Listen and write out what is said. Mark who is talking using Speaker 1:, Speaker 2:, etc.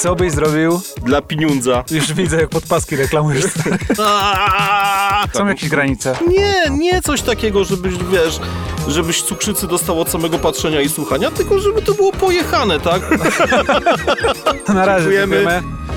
Speaker 1: Co byś zrobił?
Speaker 2: Dla pieniądza.
Speaker 1: Już widzę, jak podpaski reklamujesz.
Speaker 2: Aaaa!
Speaker 1: Są jakieś granice.
Speaker 2: Nie, nie coś takiego, żebyś, wiesz, żebyś cukrzycy dostał od samego patrzenia i słuchania, tylko żeby to było pojechane, tak?
Speaker 1: Na razie,
Speaker 2: Dziękujemy.
Speaker 1: dziękujemy.